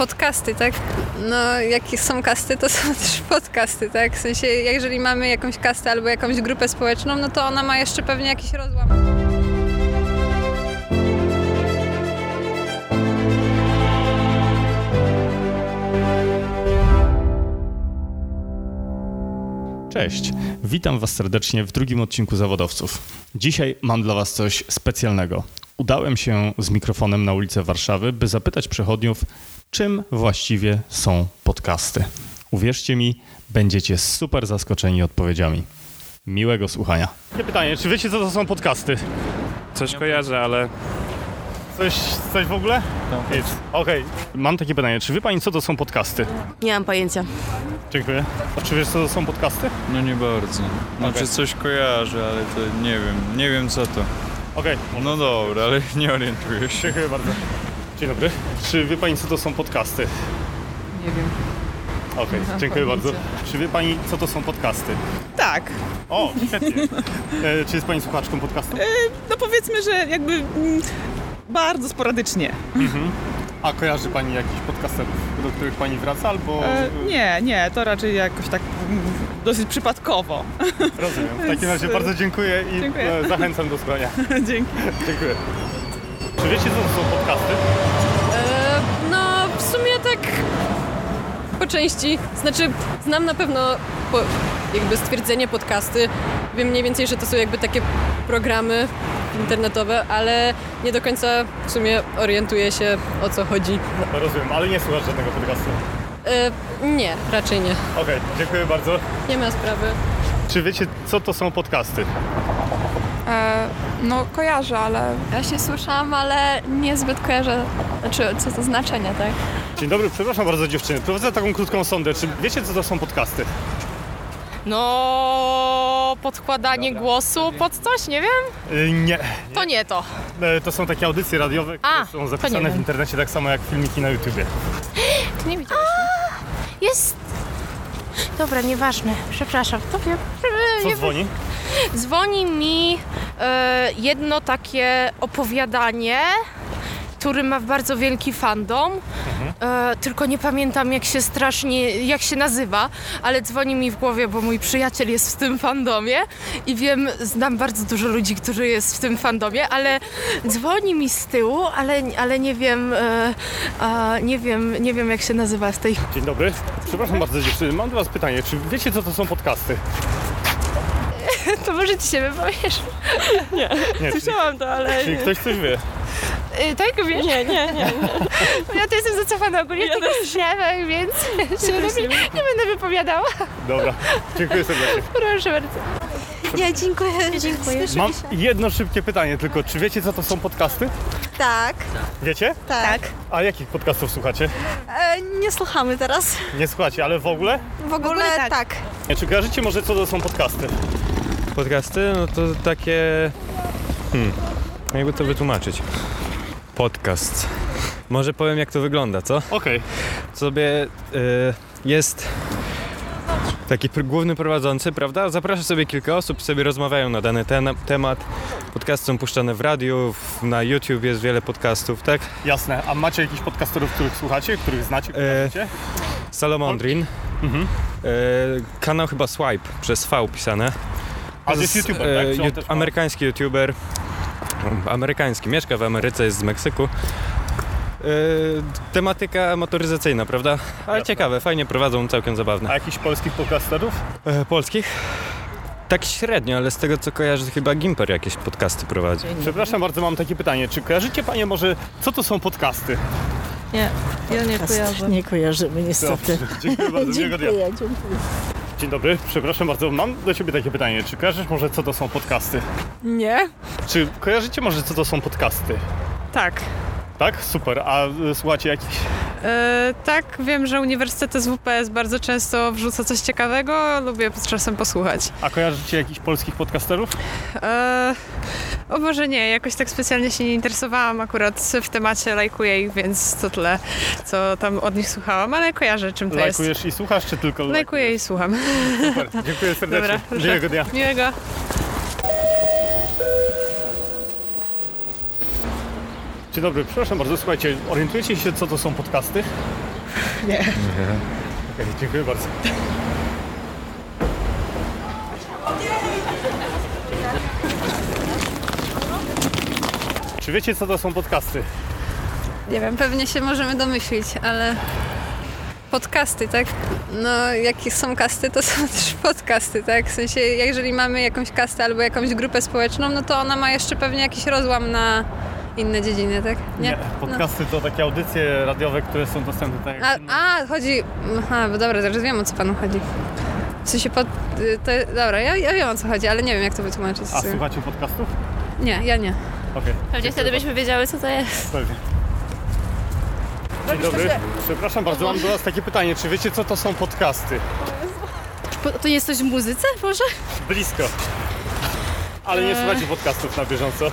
podcasty, tak? No, jakie są kasty, to są też podcasty, tak? W sensie, jeżeli mamy jakąś kastę albo jakąś grupę społeczną, no to ona ma jeszcze pewnie jakiś rozłam. Cześć, witam Was serdecznie w drugim odcinku Zawodowców. Dzisiaj mam dla Was coś specjalnego. Udałem się z mikrofonem na ulicę Warszawy, by zapytać przechodniów, czym właściwie są podcasty. Uwierzcie mi, będziecie super zaskoczeni odpowiedziami. Miłego słuchania. Pytanie, czy wiecie co to są podcasty? Coś kojarzę, ale Coś, coś w ogóle? No. Nic. Okej. Mam takie pytanie, czy wie pani co to są podcasty? Nie mam pojęcia. Dziękuję. A czy wiesz co to są podcasty? no nie bardzo. Znaczy Okej. coś kojarzę, ale to nie wiem, nie wiem co to. Okej. No dobra, ale nie orientuję się. Dziękuję bardzo. Dzień dobry. Czy wie pani co to są podcasty? Nie wiem. Okej, dziękuję bardzo. Czy wie pani co to są podcasty? Tak. O, świetnie. E, czy jest pani słuchaczką podcastu? No powiedzmy, że jakby mm, bardzo sporadycznie. A kojarzy pani jakichś podcasterów, do których pani wraca albo... E, nie, nie, to raczej jakoś tak mm, dosyć przypadkowo. Rozumiem. W takim razie bardzo dziękuję i e, Dziękuję. e, zachęcam do słuchania. Dzięki. Dziękuję. Czy wiecie co to są podcasty? No, w sumie tak po części. Znaczy, znam na pewno po, jakby stwierdzenie podcasty. Wiem mniej więcej, że to są jakby takie programy internetowe, ale nie do końca w sumie orientuję się o co chodzi. Rozumiem, ale nie słuchasz żadnego podcastu. E, nie, raczej nie. Okej, dziękuję bardzo. Nie ma sprawy. Czy wiecie, co to są podcasty? No kojarzę, ale Ja się słyszałam, ale niezbyt kojarzę, znaczy co to znaczenie, tak? Dzień dobry, przepraszam bardzo dziewczyny. Prowadzę taką krótką sondę. Czy wiecie, co to są podcasty? No, podkładanie głosu pod coś, nie wiem? nie. To Y, nie to. E, To są takie audycje radiowe, które A, są to nie zapisane w wiem. internecie tak samo jak filmiki na YouTubie. Nie widziałeś. Jest. Dobra, nieważne. Przepraszam. To wiem. Co dzwoni? Dzwoni mi e, jedno takie opowiadanie, który ma bardzo wielki fandom. E, tylko nie pamiętam jak się strasznie, jak się nazywa, ale dzwoni mi w głowie, bo mój przyjaciel jest w tym fandomie i wiem, znam bardzo dużo ludzi, którzy jest w tym fandomie, ale dzwoni mi z tyłu, ale, ale nie wiem, e, a, nie wiem, nie wiem jak się nazywa z tej Dzień dobry. Przepraszam bardzo dziewczyny. Mam do was pytanie. Czy wiecie, co to są podcasty? To może ci się wypowiesz. Nie, czyli, Słyszałam to, ale... czyli ktoś coś wie. Y, tak, wiesz? Nie, nie, nie. Ja to jestem zacofana ogólnie w tych sprawach, więc się lepiej nie będę wypowiadała. Dobra, dziękuję serdecznie. Proszę bardzo. Nie, dziękuję. Dziękuję. Mam jedno szybkie pytanie tylko. Czy wiecie, co to są podcasty? Tak, Wiecie? tak. A jakich podcastów słuchacie? E, nie słuchamy teraz. Nie słuchacie, ale w ogóle? W ogóle tak. Nie, Czy kojarzycie może, co to są podcasty? Podcasty, no to takie. Hmm. Jakby to wytłumaczyć? Podcast. Może powiem, jak to wygląda, co? Okej. Sobie y, jest taki pr- główny prowadzący, prawda? Zaprasza sobie kilka osób, sobie rozmawiają na dany ten- temat. Podcasty są puszczane w radiu, w, na YouTube jest wiele podcastów, tak? Jasne. A macie jakichś podcasterów, których słuchacie, których znacie? E, Wiecie? Salomondrin. Mhm. Y, kanał chyba Swipe, przez V pisane. A to jest YouTuber, e, tak? Czy on ju- też ma- amerykański YouTuber. Amerykański, mieszka w Ameryce, jest z Meksyku. E, tematyka motoryzacyjna, prawda? Ale Jasne. ciekawe, fajnie prowadzą, całkiem A zabawne. jakichś polskich podcasterów? E, polskich? Tak średnio, ale z tego co kojarzę, to chyba Gimper jakieś podcasty prowadzi. Przepraszam bardzo, mam takie pytanie. Czy kojarzycie panie może, co to są podcasty? Ja nie kojarzę. Nie kojarzymy niestety. Dziękuję bardzo, miłego dnia. Dziękuję, dziękuję. Dzień dobry, przepraszam bardzo, mam do ciebie takie pytanie. Czy kojarzysz może, co to są podcasty? Nie? Czy kojarzycie może, co to są podcasty? Tak. Tak? Super. A y, słuchacie jakichś... E, tak, wiem, że Uniwersytet z WPS bardzo często wrzuca coś ciekawego, lubię z czasem posłuchać. A kojarzycie jakichś polskich podcasterów? E, o Boże, nie, jakoś tak specjalnie się nie interesowałam akurat w temacie, lajkuję ich, więc to tyle, co tam od nich słuchałam, ale kojarzę czym to jest. Lajkujesz i słuchasz, czy tylko Lajkuję i słucham. Super. Dziękuję serdecznie. Dobra, tak. proszę. miłego dnia. Miłego. Dzień dobry, przepraszam bardzo, słuchajcie, orientujecie się, co to są podcasty? Nie. Okej, dziękuję bardzo. Czy wiecie, co to są podcasty? Nie wiem, pewnie się możemy domyślić, ale podcasty, tak? No, jakie są kasty, to są też podcasty, tak? W sensie, jeżeli mamy jakąś kastę albo jakąś grupę społeczną, no to ona ma jeszcze pewnie jakiś rozłam na inne dziedziny, tak? Podcasty to takie audycje radiowe, które są dostępne tak jak A, a chodzi. Aha, bo dobra, teraz wiem o co panu chodzi. W sensie pod. y, To, dobra, ja, ja wiem o co chodzi, ale nie wiem jak to wytłumaczyć. A słuchacie podcastów? Nie, ja nie. Okej. Pewnie wtedy byśmy wiedziały, co to jest. Pewnie. Dzień Robisz to dobry. źle. Przepraszam bardzo, mam do Was takie pytanie. Czy wiecie, co to są podcasty? Po- To jest coś w muzyce może? Blisko. Ale nie Eee. słuchacie podcastów na bieżąco.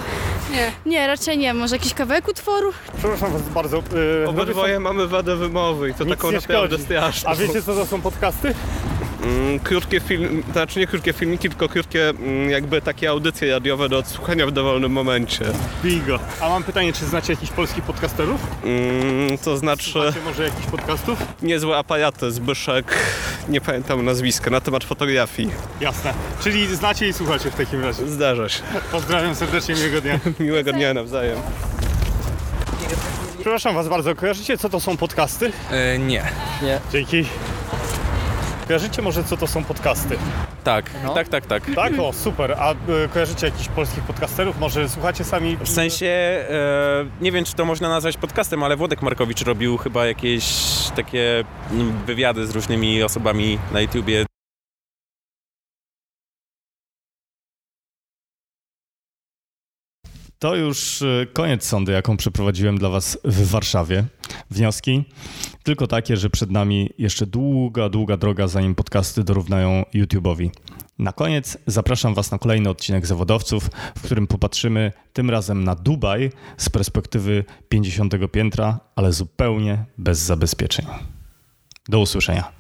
Nie. Nie, raczej nie. Może jakiś kawałek utworu? Przepraszam was bardzo. Yy, Obydwoje mamy wadę wymowy i to taką nie naprawdę szkodzi. straszną. A wiecie, co to są podcasty? Mm, krótkie film, znaczy nie krótkie filmiki, tylko krótkie mm, jakby takie audycje radiowe do odsłuchania w dowolnym momencie. Bingo. A mam pytanie, czy znacie jakichś polskich podcasterów? Mm, to znaczy Czy może jakichś podcastów? niezłe aparaty, Zbyszek, nie pamiętam nazwiska, na temat fotografii. Jasne. Czyli znacie i słuchacie w takim razie. Zdarza się. Pozdrawiam serdecznie, miłego dnia. Miłego dnia nawzajem. Przepraszam was bardzo, kojarzycie co to są podcasty? nie. Nie. Dzięki. Kojarzycie może co to są podcasty? Tak, tak, tak, tak. Tak? O, super. A y, kojarzycie jakichś polskich podcasterów? Może słuchacie sami? W sensie, e, nie wiem czy to można nazwać podcastem, ale Włodek Markowicz robił chyba jakieś takie mm, wywiady z różnymi osobami na YouTubie. To już y, koniec sądy, jaką przeprowadziłem dla Was w Warszawie. Wnioski tylko takie, że przed nami jeszcze długa, długa droga, zanim podcasty dorównają YouTube'owi. Na koniec zapraszam Was na kolejny odcinek Zawodowców, w którym popatrzymy tym razem na Dubaj z perspektywy 50 piętra, ale zupełnie bez zabezpieczeń. Do usłyszenia.